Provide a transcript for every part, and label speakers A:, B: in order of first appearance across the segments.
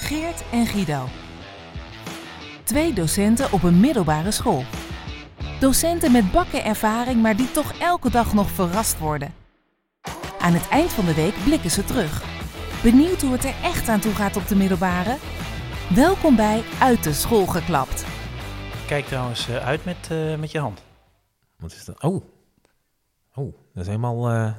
A: Geert en Guido. Twee docenten op een middelbare school. Docenten met bakken ervaring, maar die toch elke dag nog verrast worden. Aan het eind van de week blikken ze terug. Benieuwd hoe het er echt aan toe gaat op de middelbare? Welkom bij Uit de School geklapt.
B: Kijk trouwens eh, uit met, eh, met je hand.
C: Wat is dat? Oh. Oh, dat is helemaal... eh,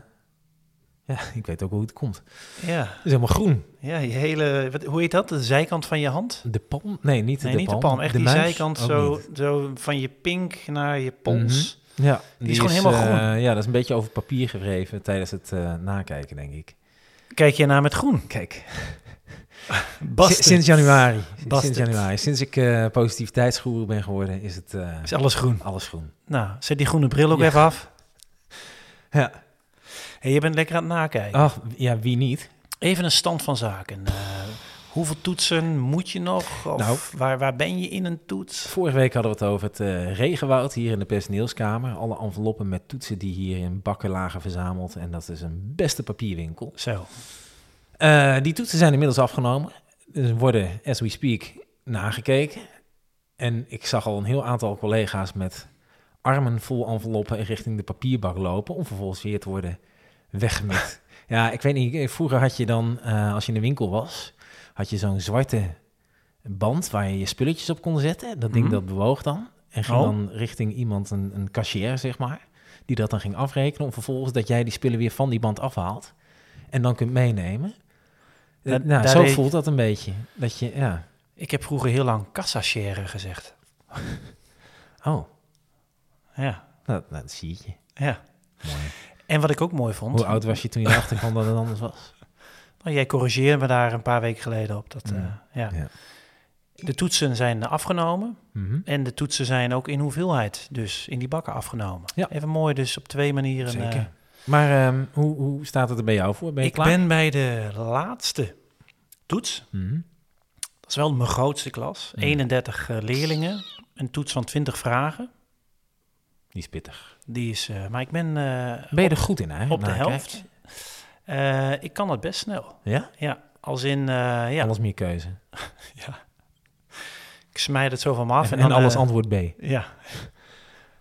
C: Ja, ik weet ook wel hoe het komt. Het
B: Ja,
C: is helemaal groen.
B: ja je hele, wat, hoe heet dat? De zijkant van je hand?
C: De palm? Nee, niet
B: Nee,
C: de
B: niet
C: palm.
B: de palm. Echt die
C: muis
B: zijkant
C: ook
B: zo,
C: niet. Mhm.
B: zo van je pink naar je pols.
C: Ja, die,
B: is gewoon helemaal
C: eh,
B: groen.
C: Ja, dat is een beetje over papier gewreven tijdens het eh, nakijken, denk ik.
B: Kijk je naar met groen.
C: Kijk,
B: Bast.
C: si- sinds januari.
B: Bastard.
C: Sinds januari. Sinds ik eh positiviteitsgoeroe ben geworden, is het eh,
B: Is alles groen.
C: alles groen.
B: Nou, zet die groene bril ook
C: Ja.
B: even af.
C: Ja.
B: Hey, je bent lekker aan het nakijken.
C: Ach, ja, wie niet?
B: Even een stand van zaken. Eh, hoeveel toetsen moet je nog? Of
C: Nou.
B: waar, waar ben je in een toets?
C: Vorige week hadden we het over het eh, regenwoud hier in de personeelskamer. Alle enveloppen met toetsen die hier in bakken lagen verzameld. En dat is een beste papierwinkel.
B: Zo.
C: Eh, die toetsen zijn inmiddels afgenomen. Dus worden, as we speak, nagekeken. En ik zag al een heel aantal collega's met armen vol enveloppen richting de papierbak lopen. Om vervolgens weer te worden weggemikt. ja, ik weet niet. Vroeger had je dan, eh, als je in de winkel was, had je zo'n zwarte band waar je je spulletjes op kon zetten. Dat ding
B: Mhm.
C: dat bewoog dan. En ging
B: Oh.
C: dan richting iemand, een, een cashier zeg maar. Die dat dan ging afrekenen. Om vervolgens dat jij die spullen weer van die band afhaalt. En dan kunt meenemen. Eh,
B: Dat-
C: nou,
B: daar
C: zo
B: deed ik-
C: voelt dat een beetje. Dat je, ja.
B: Ik heb vroeger heel lang kassachère gezegd.
C: Oh,
B: Ja,
C: nou, nou, dat zie je.
B: ja.
C: Mooi.
B: En wat ik ook mooi vond.
C: Hoe oud was je toen je erachter kwam dat het anders was?
B: Nou, jij corrigeerde me daar een paar weken geleden op. Dat,
C: Mm.
B: eh, ja.
C: Ja.
B: De toetsen zijn afgenomen
C: Mhm.
B: en de toetsen zijn ook in hoeveelheid dus in die bakken afgenomen.
C: Ja.
B: Even mooi dus op twee manieren.
C: Zeker.
B: eh,
C: Maar ehm, hoe, hoe staat het er bij jou voor? Ben je
B: ik
C: klaar?
B: ben bij de laatste toets.
C: Mhm.
B: Dat is wel mijn grootste klas.
C: Mm.
B: 31 eh, leerlingen. Een toets van 20 vragen.
C: Die is pittig.
B: Die is, eh, maar ik ben eh,
C: Ben je er goed in eigenlijk?
B: op de
C: Nou, kijk.
B: helft. Eh, ik kan het best snel.
C: Ja?
B: Ja, als in, eh, ja,
C: Alles meer keuze. En,
B: ik smijt het zo van me af.
C: en
B: dan,
C: alles
B: eh,
C: antwoord B.
B: Ja.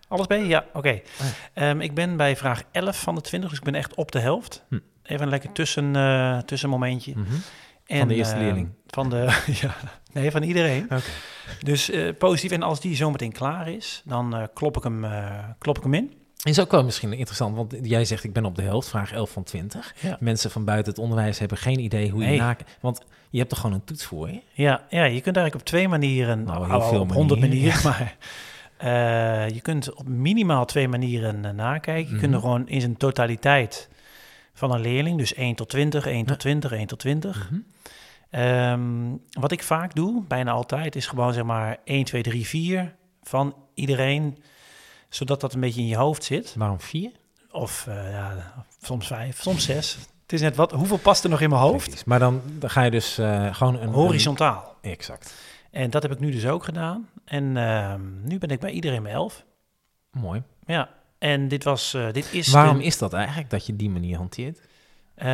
B: Alles bij? Ja, oké.
C: Ah.
B: Ehm, ik ben bij vraag 11 van de 20, dus ik ben echt op de helft.
C: Hm.
B: Even een lekker tussen, eh, tussenmomentje.
C: Mhm.
B: En,
C: de eerste
B: eh,
C: leerling.
B: Van de, ja, nee, van iedereen.
C: Oké.
B: Dus eh, positief. En als die zometeen klaar is, dan eh, klop, ik hem, eh, klop ik hem in.
C: Is ook wel misschien interessant, want jij zegt ik ben op de helft, vraag 11 van 20.
B: Ja.
C: Mensen van buiten het onderwijs hebben geen idee hoe je
B: Nee.
C: naken... Want je hebt er gewoon een toets voor, hè?
B: Ja, ja, je kunt eigenlijk op twee manieren,
C: Nou, heel
B: al- al
C: veel
B: op honderd manieren,
C: manieren,
B: maar eh, je kunt op minimaal twee manieren eh, nakijken. Je kunt er
C: Mhm.
B: gewoon in zijn totaliteit van een leerling, dus 1 tot 20, 1
C: Ja.
B: tot 20, 1 tot 20.
C: Mhm.
B: Ehm, wat ik vaak doe, bijna altijd, is gewoon zeg maar 1, 2, 3, 4 van iedereen. Zodat dat een beetje in je hoofd zit.
C: Waarom vier?
B: Of eh, ja, soms vijf, soms zes. Het is net wat, hoeveel past er nog in mijn hoofd?
C: Precies. Maar dan, dan ga je dus eh, gewoon een...
B: Horizontaal.
C: een- exact.
B: En dat heb ik nu dus ook gedaan. En ehm, nu ben ik bij iedereen bij elf.
C: Mooi.
B: Ja, en dit was, eh, dit is...
C: Waarom
B: de-
C: is dat eigenlijk, dat je die manier hanteert?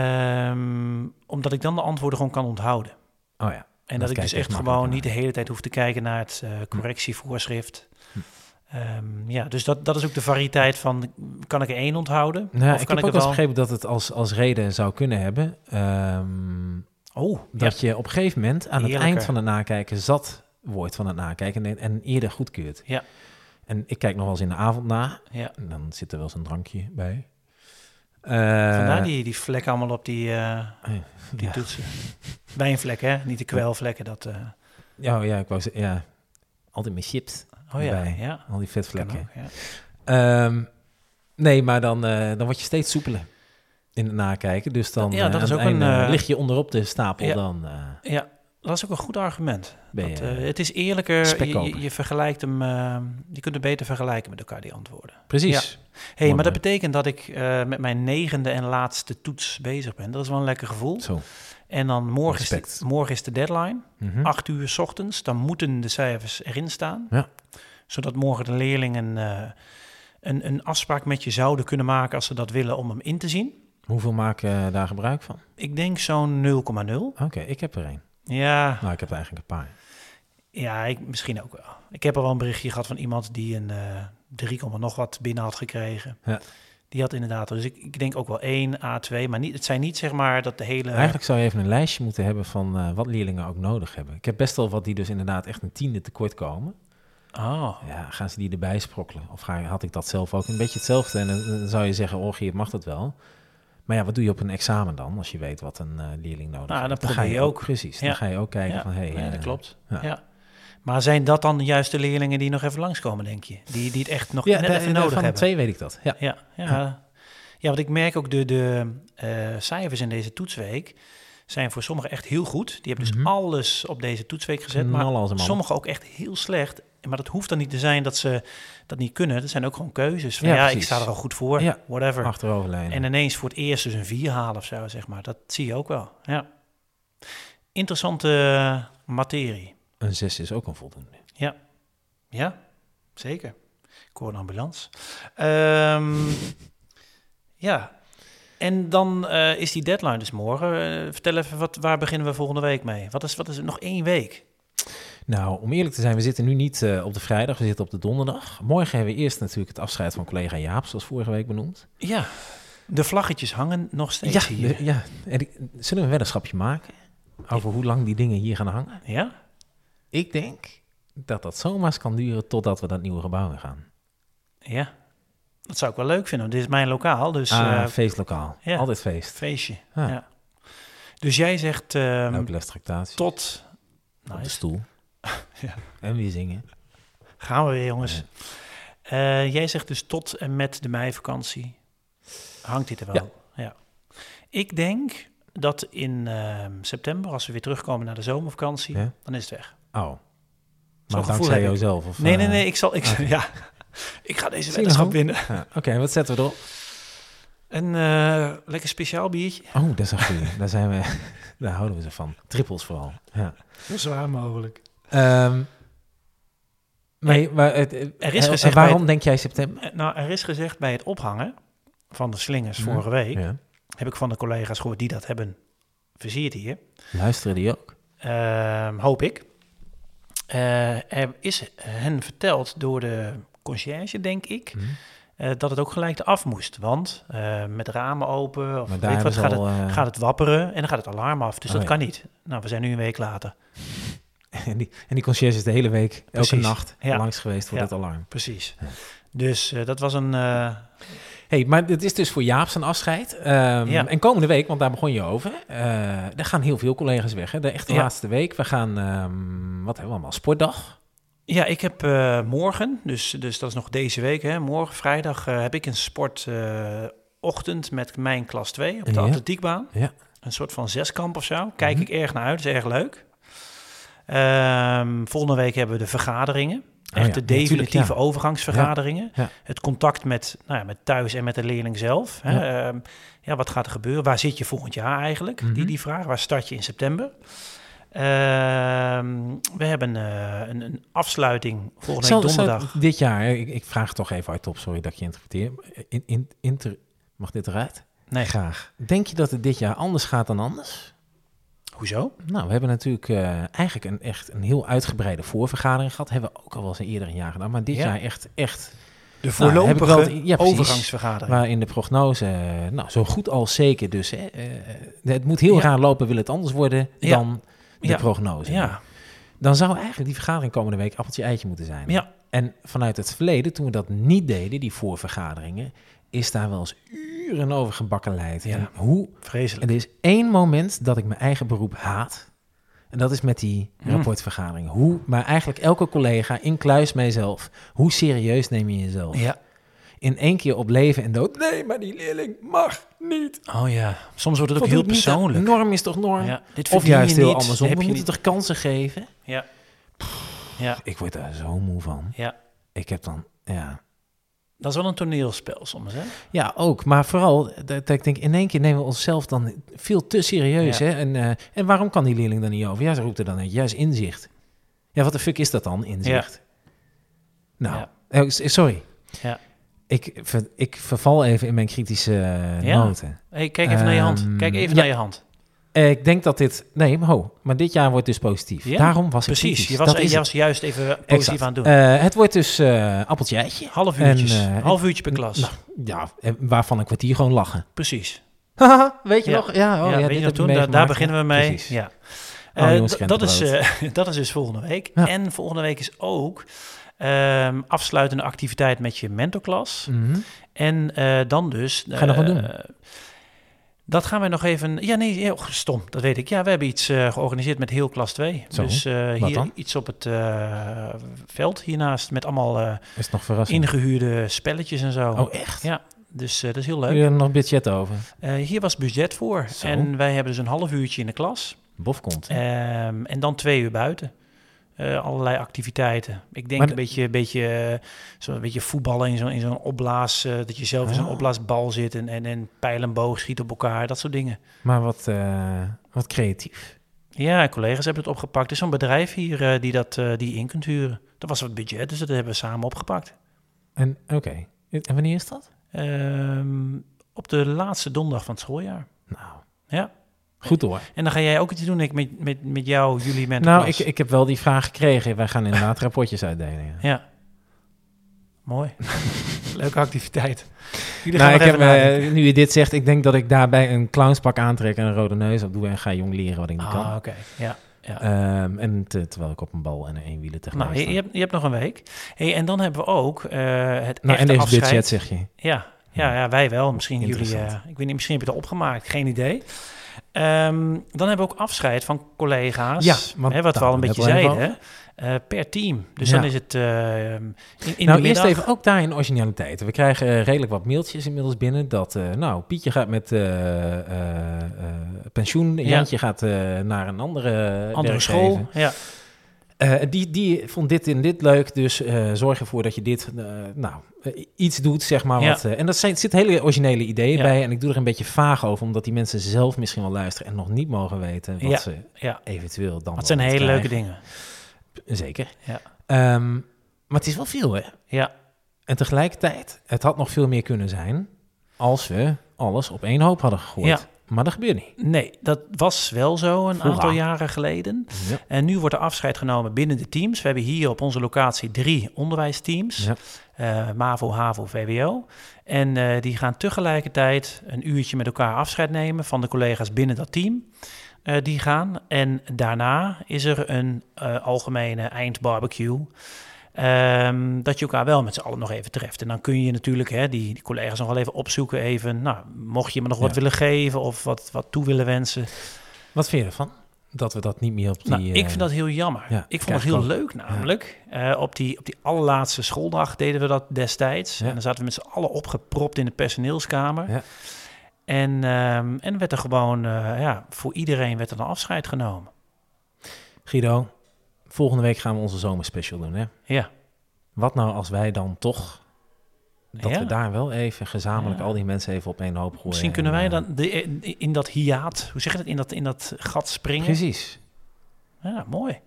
B: Ehm, omdat ik dan de antwoorden gewoon kan onthouden.
C: Oh ja.
B: En dat,
C: Dat
B: ik dus
C: kijk ik
B: echt
C: makkelijk
B: gewoon
C: aan.
B: niet de hele tijd hoef te kijken naar het eh, correctievoorschrift.
C: Hm.
B: Ehm, ja, dus dat, dat is ook de variëteit van, kan ik er één onthouden?
C: Nou,
B: of
C: ik
B: kan ik
C: heb ook wel
B: het
C: eens
B: al?
C: begrepen dat het als, als reden zou kunnen hebben... ehm,
B: Oh, ja.
C: dat je op een gegeven moment aan het
B: Heerlijker.
C: eind van het nakijken zat wordt van het nakijken en, en eerder goedkeurt.
B: Ja.
C: En ik kijk nog wel eens in de avond na.
B: Ja.
C: En dan zit er wel eens een drankje bij. Eh,
B: Vandaar die, die vlek allemaal op die, eh, die
C: ja.
B: toetsen. Wijnvlek, hè? Niet de kwelvlekken. Dat, eh,
C: Ja, oh ja, ik wou ze- ja. Altijd mijn chips,
B: Oh ja,
C: Erbij.
B: ja.
C: al die
B: Kan
C: vetvlekken.
B: ook, ja.
C: Ehm, nee, maar dan, eh, dan word je steeds soepeler in het nakijken. Dus dan
B: Ja, dat
C: eh, aan
B: is
C: het
B: ook een,
C: einde
B: eh,
C: lig je onderop de stapel,
B: Ja.
C: dan eh,
B: ja, dat is ook een goed argument.
C: ben
B: Dat,
C: je...
B: eh, het is eerlijker, je- je,
C: spekkoper.
B: je vergelijkt hem, eh, je kunt het beter vergelijken met elkaar, die antwoorden.
C: precies.
B: hey, maar dat
C: man.
B: betekent dat ik eh, met mijn negende en laatste toets bezig ben. Dat is wel een lekker gevoel.
C: Zo.
B: En dan morgen is,
C: Respect.
B: de, morgen is de deadline,
C: Mhm.
B: acht uur 's ochtends. Dan moeten de cijfers erin staan.
C: Ja.
B: Zodat morgen de leerlingen eh, een, een afspraak met je zouden kunnen maken als ze dat willen om hem in te zien.
C: Hoeveel maken eh, daar gebruik van?
B: Ik denk zo'n 0,0.
C: Oké, ik heb er één.
B: Ja,
C: Nou, ik heb er eigenlijk een paar.
B: ja ik, misschien ook wel. Ik heb al wel een berichtje gehad van iemand die een eh 3, komma nog wat binnen had gekregen.
C: Ja.
B: Die had inderdaad, dus ik, ik denk ook wel 1, A2, maar niet, het zijn niet zeg maar dat de hele...
C: Eigenlijk zou je even een lijstje moeten hebben van eh, wat leerlingen ook nodig hebben. Ik heb best wel wat die dus inderdaad echt een tiende tekort komen.
B: Oh,
C: Ja, gaan ze die erbij sprokkelen? Of ga, had ik dat zelf ook een beetje hetzelfde? En dan, dan zou je zeggen, oh, Geert, mag dat wel? Maar ja, wat doe je op een examen dan, als je weet wat een eh, leerling nodig
B: Nou, dan
C: heeft?
B: probeer
C: ga
B: je ook.
C: Precies,
B: Ja.
C: dan ga je ook kijken
B: Ja,
C: van... Hey,
B: nee,
C: eh,
B: dat klopt.
C: ja.
B: Ja. Maar zijn dat dan juist de leerlingen die nog even langskomen, denk je? Die, die het echt nog
C: Ja,
B: net
C: de-
B: even
C: de-
B: nodig
C: van
B: hebben?
C: twee weet ik dat. Ja,
B: Ja, ja. ja, want ik merk ook de, de eh, cijfers in deze toetsweek zijn voor sommigen echt heel goed. Die hebben dus
C: Mhm.
B: alles op deze toetsweek gezet.
C: Knallen als
B: Maar
C: een malle.
B: sommigen ook echt heel slecht. Maar dat hoeft dan niet te zijn dat ze dat niet kunnen. Dat zijn ook gewoon keuzes. Van,
C: Ja,
B: ja, ik
C: precies.
B: sta er al goed voor,
C: Ja,
B: whatever.
C: achteroverleunen.
B: En ineens voor het eerst dus een 4 halen of zo, zeg maar. Dat zie je ook wel, ja. Interessante eh, materie.
C: Een zes is ook een voldoende.
B: Ja, zeker. Ik hoor een ambulance. Ehm, ja, en dan eh, is die deadline dus morgen. Eh, vertel even, wat, waar beginnen we volgende week mee? Wat is, wat is het? Nog één week?
C: Nou, om eerlijk te zijn, we zitten nu niet eh, op de vrijdag, we zitten op de donderdag. Morgen hebben we eerst natuurlijk het afscheid van collega Jaap, zoals vorige week benoemd.
B: Ja, de vlaggetjes hangen nog
C: Ja,
B: steeds hier.
C: de- ja. En die- zullen we een weddenschapje maken over hoe lang die dingen hier gaan hangen?
B: Ja?
C: Ik denk dat dat zomaar kan duren totdat we dat nieuwe gebouw in gaan.
B: Ja. Dat zou ik wel leuk vinden. want Dit is mijn lokaal, dus
C: ah,
B: eh,
C: feestlokaal.
B: ja.
C: Altijd feest.
B: feestje.
C: Ah.
B: Ja. Dus jij zegt ehm,
C: Ook les tractatie.
B: tot...
C: Op de
B: Nice.
C: stoel.
B: Ja.
C: En weer zingen.
B: Gaan we weer, jongens.
C: Ja.
B: Eh, jij zegt dus tot en met de meivakantie hangt dit er wel. Ja. Ik denk dat in ehm, september, als we weer terugkomen naar de zomervakantie,
C: Ja.
B: dan is het weg.
C: Oh.
B: gevoel
C: Maar
B: heb
C: dankzij
B: ik.
C: jouzelf? Of,
B: nee, nee,
C: eh,
B: nee. Ik zal. Ik, ja, ik ga deze
C: Zie je
B: weddenschap
C: nou?
B: winnen.
C: ja. Oké, wat zetten we erop?
B: Een eh, lekker speciaal biertje.
C: Oh, dat is een goeie. Daar zijn we... Daar houden we ze van. Trippels vooral. Ja.
B: Zo zwaar mogelijk.
C: Ehm, nee, maar... Het, eh,
B: er is gezegd bij
C: Waarom denk jij september?
B: nou, er is gezegd bij het ophangen van de slingers
C: Mhm.
B: vorige week,
C: Ja.
B: heb ik van de collega's gehoord die dat hebben versierd hier.
C: Luisteren die ook?
B: Ehm, hoop ik. Eh, er is hen verteld door de conciërge, denk ik,
C: Hm.
B: eh, dat het ook gelijk af moest. Want eh, met ramen open of
C: Maar
B: weet
C: daar
B: ik
C: hebben
B: wat,
C: ze
B: gaat,
C: al...
B: het,
C: eh,
B: gaat het wapperen en dan gaat het alarm af. Dus
C: Oh,
B: dat
C: ja.
B: kan niet. Nou, we zijn nu een week later.
C: En die, en die conciërge is de hele week,
B: Precies.
C: elke nacht,
B: Ja.
C: langs geweest voor
B: Ja.
C: dat alarm.
B: Precies. Dus eh, dat was een... eh,
C: hey, maar dit is dus voor Jaap zijn afscheid. Ehm,
B: Ja.
C: En komende week, want daar begon je over, eh er gaan heel veel collega's weg. Hè? De echte
B: Ja.
C: laatste week. We gaan, ehm, wat hebben we allemaal, sportdag.
B: Oh, ja, ik heb eh, morgen, dus, dus dat is nog deze week, hè, morgen vrijdag, eh, heb ik een sportochtend eh, met mijn klas 2 op de
C: Ja.
B: atletiekbaan.
C: Ja.
B: Een soort van zeskamp of zo. Kijk
C: Mhm.
B: ik erg naar uit, is erg leuk. Ehm, volgende week hebben we de vergaderingen.
C: Oh
B: Echt
C: ja,
B: de
C: natuurlijk,
B: definitieve
C: ja.
B: overgangsvergaderingen.
C: Ja, ja.
B: Het contact met, nou ja, met thuis en met de leerling zelf. Hè. Ja. ja, wat gaat er gebeuren? Waar zit je volgend jaar eigenlijk?
C: Mhm.
B: Die, die vraag. Waar start je in september? Ehm, we hebben eh, een, een afsluiting volgende
C: Zal-
B: week
C: zal
B: donderdag.
C: dit jaar, hè, ik, ik vraag het toch even hardop, sorry dat ik je interpreteer. In, in, inter, mag dit eruit?
B: Nee,
C: Graag. Denk je dat het dit jaar anders gaat dan anders?
B: hoezo?
C: Nou, we hebben natuurlijk eh, eigenlijk een, echt een heel uitgebreide voorvergadering gehad. Hebben we ook al wel eens eerder een jaar gedaan. Maar dit
B: Ja.
C: jaar echt, echt
B: De
C: Nou, heb ik
B: voorlopige
C: wel- ja, precies.
B: overgangsvergadering.
C: Waarin de prognose, eh, nou, zo goed als zeker dus. Hè, eh, eh, het moet heel
B: Ja.
C: raar lopen, wil het anders worden
B: Ja.
C: dan de
B: Ja.
C: prognose.
B: ja,
C: Dan zou eigenlijk die vergadering komende week appeltje-eitje moeten zijn.
B: ja,
C: En vanuit het verleden, toen we dat niet deden, die voorvergaderingen, is daar wel eens uren over gebakkenleid.
B: Ja.
C: En hoe?
B: vreselijk.
C: En er is één moment dat ik mijn eigen beroep haat. En dat is met die
B: Hmm.
C: rapportvergadering. Hoe, maar eigenlijk elke collega, incluis mijzelf, hoe serieus neem je jezelf?
B: Ja.
C: in één keer op leven en dood. Nee, maar die leerling mag niet.
B: Oh ja, soms wordt het ook
C: Voldoet
B: heel
C: niet aan-
B: persoonlijk.
C: Norm is toch norm?
B: Ja, dit
C: Of
B: verdien
C: juist
B: je
C: heel
B: niet, dit
C: andersom. We
B: heb je
C: moeten
B: niet.
C: toch kansen geven?
B: Ja. ja,
C: Ik word daar zo moe van.
B: ja.
C: Ik heb dan, ja.
B: Dat is wel een toneelspel soms, hè?
C: Ja, ook. Maar vooral, dat, dat ik denk, in één keer nemen we onszelf dan veel te serieus.
B: Ja.
C: Hè? En, eh, en waarom kan die leerling dan niet over? Ja, ze roept er dan uit. Juist inzicht. Ja, wat de fuck is dat dan, inzicht? Nou,
B: Ja.
C: eh, s- sorry.
B: Ja.
C: Ik, ver- ik verval even in mijn kritische eh,
B: Ja.
C: noten.
B: hey, kijk even naar je hand.
C: Ehm,
B: Kijk even
C: ja.
B: naar je hand.
C: Eh, ik denk dat dit... Nee, maar ho, maar dit jaar wordt dus positief.
B: Ja,
C: Daarom was het
B: Precies, je was,
C: dat
B: eh,
C: is
B: je
C: het.
B: was juist even positief
C: Exact.
B: aan het doen.
C: Eh, het wordt dus eh appeltje eitje.
B: half
C: en,
B: uurtjes,
C: eh,
B: half uurtje per klas.
C: nou, Ja, en waarvan een kwartier gewoon lachen.
B: Precies.
C: Haha, weet je
B: Ja.
C: nog? Ja, oh,
B: ja,
C: ja,
B: weet
C: dit
B: je nog
C: heb ik
B: toen? Daar,
C: meegemaakt.
B: daar beginnen we mee.
C: Precies.
B: Ja.
C: Oh,
B: Eh,
C: jongens,
B: d-
C: kent
B: dat,
C: het
B: is,
C: brood.
B: eh, dat is dus volgende week.
C: Ja.
B: En volgende week is ook ehm, afsluitende activiteit met je mentorklas.
C: Mhm.
B: En eh, dan dus...
C: Ga je nog wat
B: eh,
C: doen?
B: Dat gaan we nog even... Ja, nee, heel stom, dat weet ik. Ja, we hebben iets eh, georganiseerd met heel klas 2.
C: Zo,
B: dus eh,
C: wat
B: hier
C: dan?
B: iets op het eh, veld hiernaast met allemaal eh,
C: Is het nog verrassend?
B: ingehuurde spelletjes en zo.
C: Oh, echt?
B: Ja. Dus eh, dat is heel
C: Heb
B: leuk.
C: je er nog budget over?
B: Eh, hier was budget voor.
C: Zo.
B: En wij hebben dus een half uurtje in de klas.
C: Bof komt.
B: Ehm, en dan twee uur buiten. Eh, allerlei activiteiten. Ik denk
C: Maar
B: een
C: de-
B: beetje, beetje, eh, zo een beetje voetballen in zo'n in zo'n opblaas. eh, dat je zelf in zo'n
C: Ah.
B: opblaasbal zit en, en, en pijl en boog schiet op elkaar. Dat soort dingen.
C: Maar wat, eh, wat creatief.
B: Ja, en collega's hebben het opgepakt. Er is zo'n bedrijf hier eh, die dat eh, die in kunt huren. Dat was wat budget, dus dat hebben we samen opgepakt.
C: En oké. En wanneer is dat?
B: Ehm, op de laatste donderdag van het schooljaar.
C: Nou.
B: Ja.
C: Goed hoor.
B: En dan ga jij ook iets doen ik, met, met, met jou, jullie met
C: Nou, ik, ik heb wel die vraag gekregen. Wij gaan inderdaad rapportjes uitdelen. ja.
B: Ja. Mooi. Leuke activiteit. Jullie
C: Nou,
B: gaan
C: ik
B: nog
C: heb,
B: even nadenken.
C: eh, nu je dit zegt, ik denk dat ik daarbij een clownspak aantrek en een rode neus op doe en ga jong leren wat ik niet
B: Ah,
C: kan.
B: oké. Ja. ja.
C: Ehm, en te- terwijl ik op een bal en een eenwieler tegelijk
B: nou, je,
C: sta.
B: je hebt, je hebt nog een week. Hey, en dan hebben we ook eh, het
C: nou, en
B: echte
C: deze
B: afscheid.
C: budget zeg je.
B: Ja, ja, ja, wij wel. Misschien jullie. eh,
C: Interessant.
B: ik weet niet, misschien heb je het opgemaakt. Geen idee. Ehm, dan hebben we ook afscheid van collega's.
C: Ja, want nou,
B: hè, wat
C: daar
B: we al een
C: hebben we
B: beetje
C: het wel
B: zeiden.
C: even
B: hè. Eh, per team. Dus
C: Ja.
B: dan is het eh, in, in
C: nou,
B: de
C: eerst
B: middag.
C: even ook daarin originaliteit. We krijgen eh, redelijk wat mailtjes inmiddels binnen dat, eh, nou, Pietje gaat met eh, eh, eh, pensioen, Jantje gaat eh, naar een andere,
B: andere
C: werkgever.
B: school. Ja.
C: Eh, die, die vond dit en dit leuk, dus eh, zorg ervoor dat je dit, eh, nou, eh, iets doet, zeg maar.
B: Ja.
C: Wat, eh, en daar zijn- zitten hele originele ideeën
B: Ja.
C: bij en ik doe er een beetje vaag over, omdat die mensen zelf misschien wel luisteren en nog niet mogen weten wat
B: Ja.
C: ze
B: ja.
C: eventueel dan
B: Dat zijn hele leuke dingen.
C: dingen. Zeker.
B: Ja.
C: Ehm, maar het is wel veel, hè?
B: Ja.
C: En tegelijkertijd, het had nog veel meer kunnen zijn als we alles op één hoop hadden gegooid.
B: Ja.
C: Maar dat gebeurt niet.
B: Nee, dat was wel zo een
C: Hoera.
B: aantal jaren geleden.
C: Ja.
B: En nu wordt er afscheid genomen binnen de teams. We hebben hier op onze locatie drie onderwijsteams.
C: Ja.
B: eh, MAVO, HAVO, VWO. En eh, die gaan tegelijkertijd een uurtje met elkaar afscheid nemen van de collega's binnen dat team. eh, die gaan. En daarna is er een eh, algemene eindbarbecue. Ehm, dat je elkaar wel met z'n allen nog even treft. En dan kun je natuurlijk hè, die, die collega's nog wel even opzoeken. Even, nou, mocht je me nog wat
C: Ja.
B: willen geven of wat, wat toe willen wensen.
C: Wat vind je ervan? Dat we dat niet meer op die...
B: Nou, ik
C: eh,
B: vind dat heel jammer.
C: ja,
B: ik vond
C: kijk,
B: het heel
C: ook.
B: leuk namelijk. Eh, op, die, op die allerlaatste schooldag deden we dat destijds.
C: Ja.
B: En dan zaten we met z'n allen opgepropt in de personeelskamer.
C: Ja.
B: En, ehm, en werd er gewoon, eh, ja, voor iedereen werd er een afscheid genomen.
C: Guido, volgende week gaan we onze zomerspecial doen, hè?
B: Ja,
C: Wat nou als wij dan toch... Dat
B: Ja.
C: we daar wel even gezamenlijk
B: Ja.
C: al die mensen even op één hoop gooien.
B: misschien kunnen
C: en,
B: wij
C: eh,
B: dan de, in dat hiaat, hoe zeg je dat, in dat, in dat gat springen.
C: Precies.
B: Ja, mooi.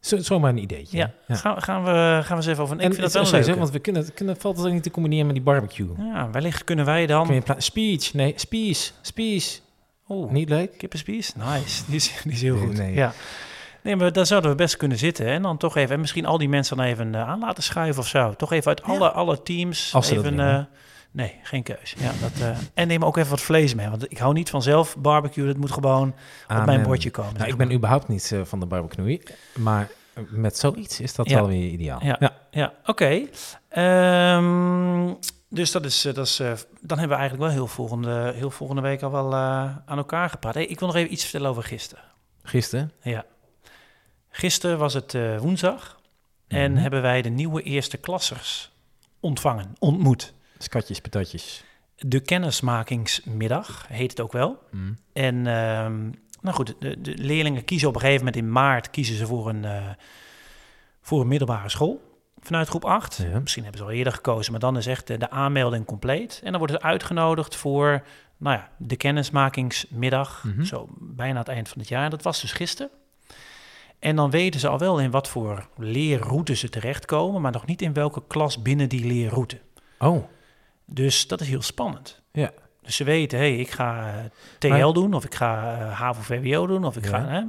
C: Zo, zomaar een ideetje.
B: Ja,
C: hè?
B: Gaan, gaan, we, gaan we eens even over. Ik
C: En
B: vind
C: het
B: dat
C: is
B: wel
C: ook zo,
B: leuk.
C: Want we kunnen, het- kunnen, valt het ook niet te combineren met die barbecue.
B: Ja, wellicht kunnen wij dan...
C: Kun je in plaats- speech, nee, speech, speech.
B: Oeh.
C: Niet leuk?
B: Kippenspies? Nice. Die is, die is heel
C: Nee,
B: goed.
C: nee.
B: Ja. nee, maar daar zouden we best kunnen zitten. hè. En dan toch even, en misschien al die mensen dan even eh, aan laten schuiven of zo. Toch even uit alle, alle teams.
C: Als ze dat
B: even,
C: willen.
B: eh, nee, geen keus. Ja, dat, eh, en neem ook even wat vlees mee. Want ik hou niet van zelf barbecue. Dat moet gewoon op mijn
C: Amen.
B: bordje komen.
C: Nou,
B: zeg
C: ik ben
B: maar.
C: überhaupt niet eh, van de barbecue, maar met zoiets is dat
B: Ja.
C: wel weer ideaal.
B: Ja. Ja, oké. Ehm, dus dat is, eh, dat is eh, dan hebben we eigenlijk wel heel volgende, heel volgende week al wel eh, aan elkaar gepraat. Hey, ik wil nog even iets vertellen over gisteren.
C: Gisteren?
B: Ja. Gisteren was het eh, woensdag en
C: Mhm.
B: hebben wij de nieuwe eerste klassers ontvangen, ontmoet.
C: Skatjes, patatjes.
B: De kennismakingsmiddag heet het ook wel.
C: Mm.
B: En ehm, nou goed, de, de leerlingen kiezen op een gegeven moment in maart kiezen ze voor een, eh, voor een middelbare school. Vanuit groep 8.
C: Ja.
B: Misschien hebben ze al eerder gekozen, maar dan is echt de, de aanmelding compleet. En dan worden ze uitgenodigd voor nou ja, de kennismakingsmiddag.
C: Mhm.
B: Zo bijna het eind van het jaar. Dat was dus gisteren. En dan weten ze al wel in wat voor leerroute ze terechtkomen, maar nog niet in welke klas binnen die leerroute.
C: Oh,
B: Dus dat is heel spannend.
C: Ja.
B: Dus ze weten, hé, hey, ik ga eh, TL
C: Maar-
B: doen, of ik ga eh, HAVO-VWO doen, of ik
C: Ja.
B: ga hè,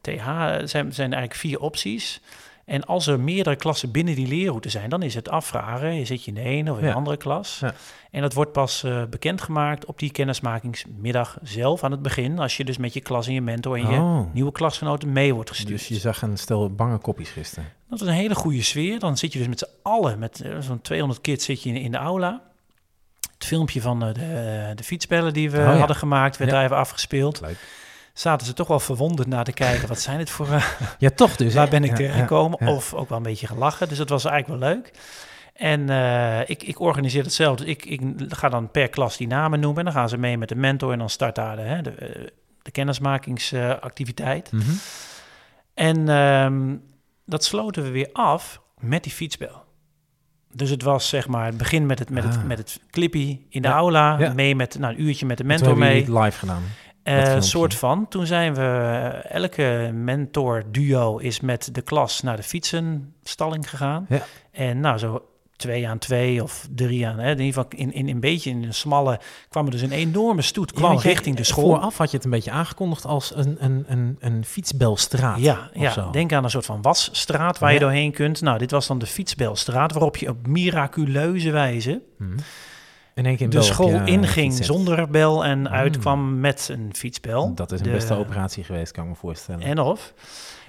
B: TH. Zijn, zijn eigenlijk vier opties. En als er meerdere klassen binnen die leerroute zijn, dan is het afvragen. Je zit je in de een of in
C: Ja.
B: een andere klas.
C: Ja.
B: En dat wordt pas eh, bekendgemaakt op die kennismakingsmiddag zelf aan het begin. Als je dus met je klas en je mentor en je
C: Oh,
B: nieuwe klasgenoten mee wordt gestuurd.
C: dus je zag een stel bange kopjes gisteren.
B: Dat is een hele goede sfeer. Dan zit je dus met z'n allen, met eh, zo'n 200 kids zit je in, in de aula. Het filmpje van eh, de, de fietsbellen die we
C: Oh ja.
B: hadden gemaakt, werd
C: Ja.
B: daar even afgespeeld.
C: Leuk.
B: Zaten ze toch wel verwonderd naar te kijken. Wat zijn het voor... eh,
C: Ja, toch dus. hè?
B: waar ben ik
C: Ja,
B: terechtgekomen?
C: ja, ja.
B: Of ook wel een beetje gelachen. Dus dat was eigenlijk wel leuk. En eh, ik, ik organiseer het zelf. Dus ik, ik ga dan per klas die namen noemen. En dan gaan ze mee met de mentor. En dan start daar de, hè, de, eh, de kennismakingsactiviteit.
C: Mhm.
B: En ehm, dat sloten we weer af met die fietsbel. Dus het was zeg maar het begin met het, met het,
C: Ah.
B: met het clippy in de
C: Ja,
B: aula.
C: ja.
B: Mee met nou, een uurtje met de
C: En
B: mentor
C: Toen
B: mee.
C: hebben jullie het live gedaan.
B: Eh,
C: filmpje.
B: soort van. Toen zijn we, elke mentor-duo is met de klas naar de fietsenstalling gegaan.
C: Ja.
B: En nou, zo twee aan twee of drie aan, hè, in ieder geval in, in een beetje in een smalle, kwam er dus een enorme stoet, kwam
C: Ja, want jij-
B: richting de school.
C: Vooraf had je het een beetje aangekondigd als een, een, een, een fietsbelstraat.
B: Ja,
C: of
B: ja.
C: zo.
B: denk aan een soort van wasstraat waar je
C: Ja.
B: doorheen kunt. Nou, dit was dan de fietsbelstraat, waarop je op miraculeuze wijze
C: Mhm. In eh, één keer
B: de
C: bel op je
B: school inging
C: fiets zet.
B: zonder bel en
C: Mm.
B: uitkwam met een fietsbel.
C: Dat is een
B: De-
C: beste operatie geweest, kan ik me voorstellen.
B: En of.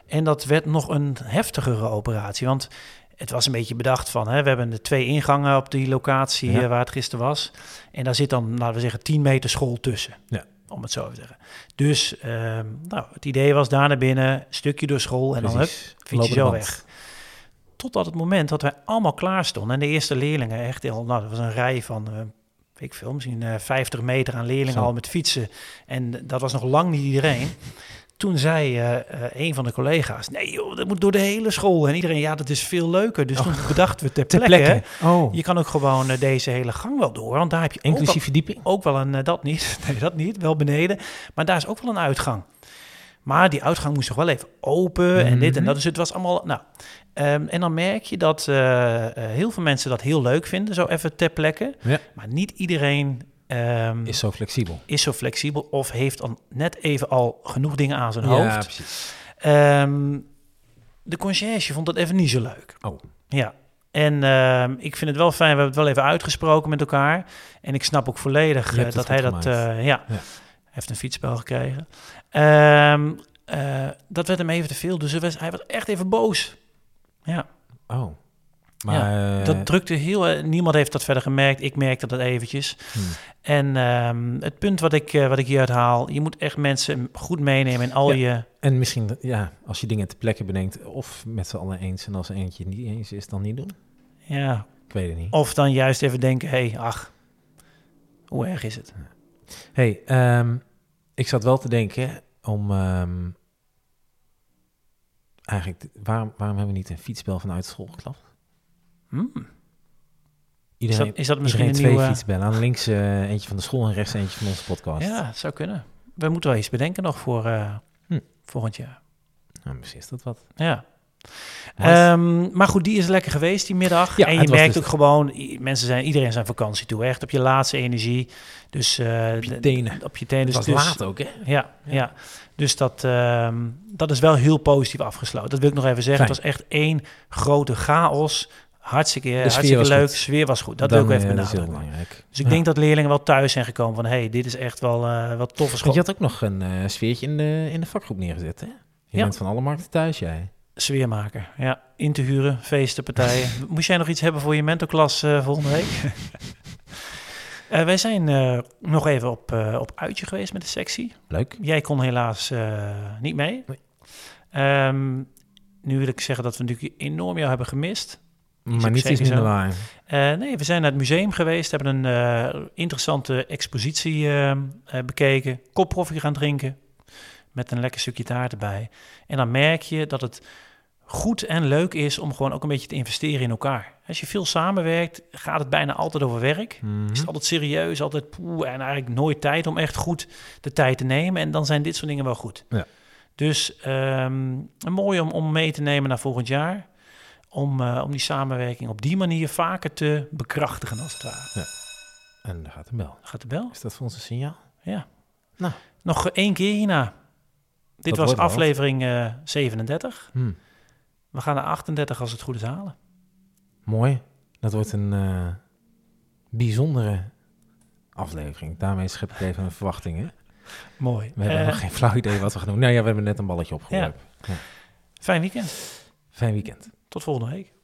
B: En dat werd nog een heftigere operatie, want het was een beetje bedacht van, hè, we hebben de twee ingangen op die locatie
C: Ja.
B: eh, waar het gisteren was. En daar zit dan, laten we zeggen, 10 meter school tussen.
C: Ja.
B: Om het zo te zeggen. Dus ehm, nou, het idee was daar naar binnen, stukje door school en dan hup,
C: Precies.
B: je
C: Lopende
B: zo
C: band.
B: weg. Totdat het moment dat wij allemaal klaar stonden. En de eerste leerlingen, echt heel, nou, dat was een rij van, eh, weet ik veel, misschien eh, 50 meter aan leerlingen
C: Zo.
B: al met fietsen. En dat was nog lang niet iedereen. Toen zei eh, eh, een van de collega's, nee joh, dat moet door de hele school. En iedereen, ja, dat is veel leuker. Dus toen bedachten we ter
C: Oh. Ter
B: plekke,
C: plekke. Oh,
B: je kan ook gewoon eh, deze hele gang wel door. Want daar heb je ook wel-
C: inclusief verdieping.
B: ook wel een, eh, dat niet, nee dat niet, wel beneden. Maar daar is ook wel een uitgang. Maar die uitgang moest toch wel even open en dit en
C: Mhm.
B: dat. Dus het was allemaal, nou. ehm, en dan merk je dat eh, eh, heel veel mensen dat heel leuk vinden, zo even ter plekke.
C: Ja.
B: Maar niet iedereen ehm,
C: Is
B: is,
C: zo flexibel.
B: zo flexibel of heeft dan net even al genoeg dingen aan zijn
C: Ja,
B: hoofd.
C: precies.
B: Ehm, de conciërge vond dat even niet zo leuk.
C: Oh.
B: Ja. En ehm, ik vind het wel fijn, we hebben het wel even uitgesproken met elkaar. En ik snap ook volledig
C: Je
B: eh,
C: hebt
B: dat
C: het
B: hij
C: goed
B: dat...
C: gemaakt.
B: eh, ja,
C: Ja.
B: hij heeft een fietsspel gekregen. Ehm, eh, dat werd hem even te veel, dus hij was, hij was echt even boos. Ja,
C: Oh. Maar... eh,
B: dat drukte heel... eh, niemand heeft dat verder gemerkt, ik merkte dat eventjes.
C: hmm.
B: En ehm, het punt wat ik, eh, wat ik hieruit haal... je moet echt mensen goed meenemen in al je...
C: En misschien, ja, als je dingen ter plekke bedenkt... of met z'n allen eens en als er eentje niet eens is, dan niet doen.
B: Ja,
C: Ik weet het niet.
B: Of dan juist even denken, hé, hey, ach, hoe erg is het?
C: Hey, ehm, ik zat wel te denken om ehm, eigenlijk waarom, waarom hebben we niet een fietsbel vanuit school geklapt?
B: Hmm. Is,
C: Iedereen,
B: dat, is dat misschien
C: iedereen
B: een
C: twee
B: nieuwe...
C: fietsbellen. Aan links eh, eentje van de school en rechts eentje van onze podcast.
B: Ja, zou kunnen. We moeten wel iets bedenken nog voor eh,
C: Hm.
B: volgend jaar.
C: Nou, misschien is dat wat.
B: Ja.
C: Maar-
B: Ehm, maar goed, die is lekker geweest die middag.
C: Ja,
B: en je
C: het was
B: merkt
C: dus-
B: ook gewoon, i- mensen zijn, iedereen is aan vakantie toe. Echt op je laatste energie. Dus eh,
C: Op je
B: de-
C: tenen.
B: Op je tenen.
C: Het
B: Dus,
C: was
B: dus-
C: laat ook, hè?
B: Ja,
C: Ja.
B: ja. dus dat, ehm, dat is wel heel positief afgesloten. Dat wil ik nog even zeggen.
C: Fijn.
B: Het was echt één grote chaos. Hartstikke,
C: sfeer
B: hartstikke
C: was
B: leuk.
C: goed.
B: sfeer was goed. Dat
C: Dan,
B: wil ik
C: eh,
B: even
C: Dat is heel
B: benadrukken.
C: belangrijk.
B: Dus ik
C: Ja.
B: denk dat leerlingen wel thuis zijn gekomen van... hé, hey, dit is echt wel eh wat toffe
C: Want
B: school.
C: je had ook nog een eh, sfeertje in de, in de vakgroep neergezet, hè? Je
B: Ja.
C: bent van alle markten thuis, jij.
B: Sfeermaker, ja. In te huren, feesten, partijen. Moest jij nog iets hebben voor je mentorklas eh, volgende week? Eh, wij zijn eh, nog even op, eh, op uitje geweest met de sectie.
C: Leuk.
B: Jij kon helaas eh, niet mee.
C: Nee.
B: Ehm, nu wil ik zeggen dat we natuurlijk enorm jou hebben gemist.
C: maar
B: ook
C: niets is
B: zeker
C: minder
B: zo.
C: waar.
B: Eh, nee, we zijn naar het museum geweest, hebben een eh, interessante expositie eh, eh, bekeken, kopkoffie gaan drinken met een lekker stukje taart erbij. En dan merk je dat het goed en leuk is om gewoon ook een beetje te investeren in elkaar. Als je veel samenwerkt, gaat het bijna altijd over werk.
C: Mhm.
B: Is het altijd serieus, altijd poeh, en eigenlijk nooit tijd om echt goed de tijd te nemen. En dan zijn dit soort dingen wel goed.
C: Ja.
B: Dus ehm, mooi om, om mee te nemen naar volgend jaar. Om, eh, om die samenwerking op die manier vaker te bekrachtigen, als het ware.
C: En daar gaat de bel.
B: Gaat de bel?
C: Is dat voor ons een signaal?
B: Ja.
C: Nou.
B: Nog één keer hierna. Dit
C: Dat
B: was
C: wordt wat.
B: aflevering eh, 37.
C: Hmm,
B: We gaan naar 38 als het goed is halen.
C: Mooi. Dat wordt een eh, bijzondere aflevering. Daarmee schep ik even een verwachting. Hè?
B: Mooi.
C: We hebben
B: Eh,
C: nog geen flauw idee wat we gaan doen. Nou ja, we hebben net een balletje opgeworpen.
B: Fijn weekend.
C: Fijn weekend.
B: Tot volgende week.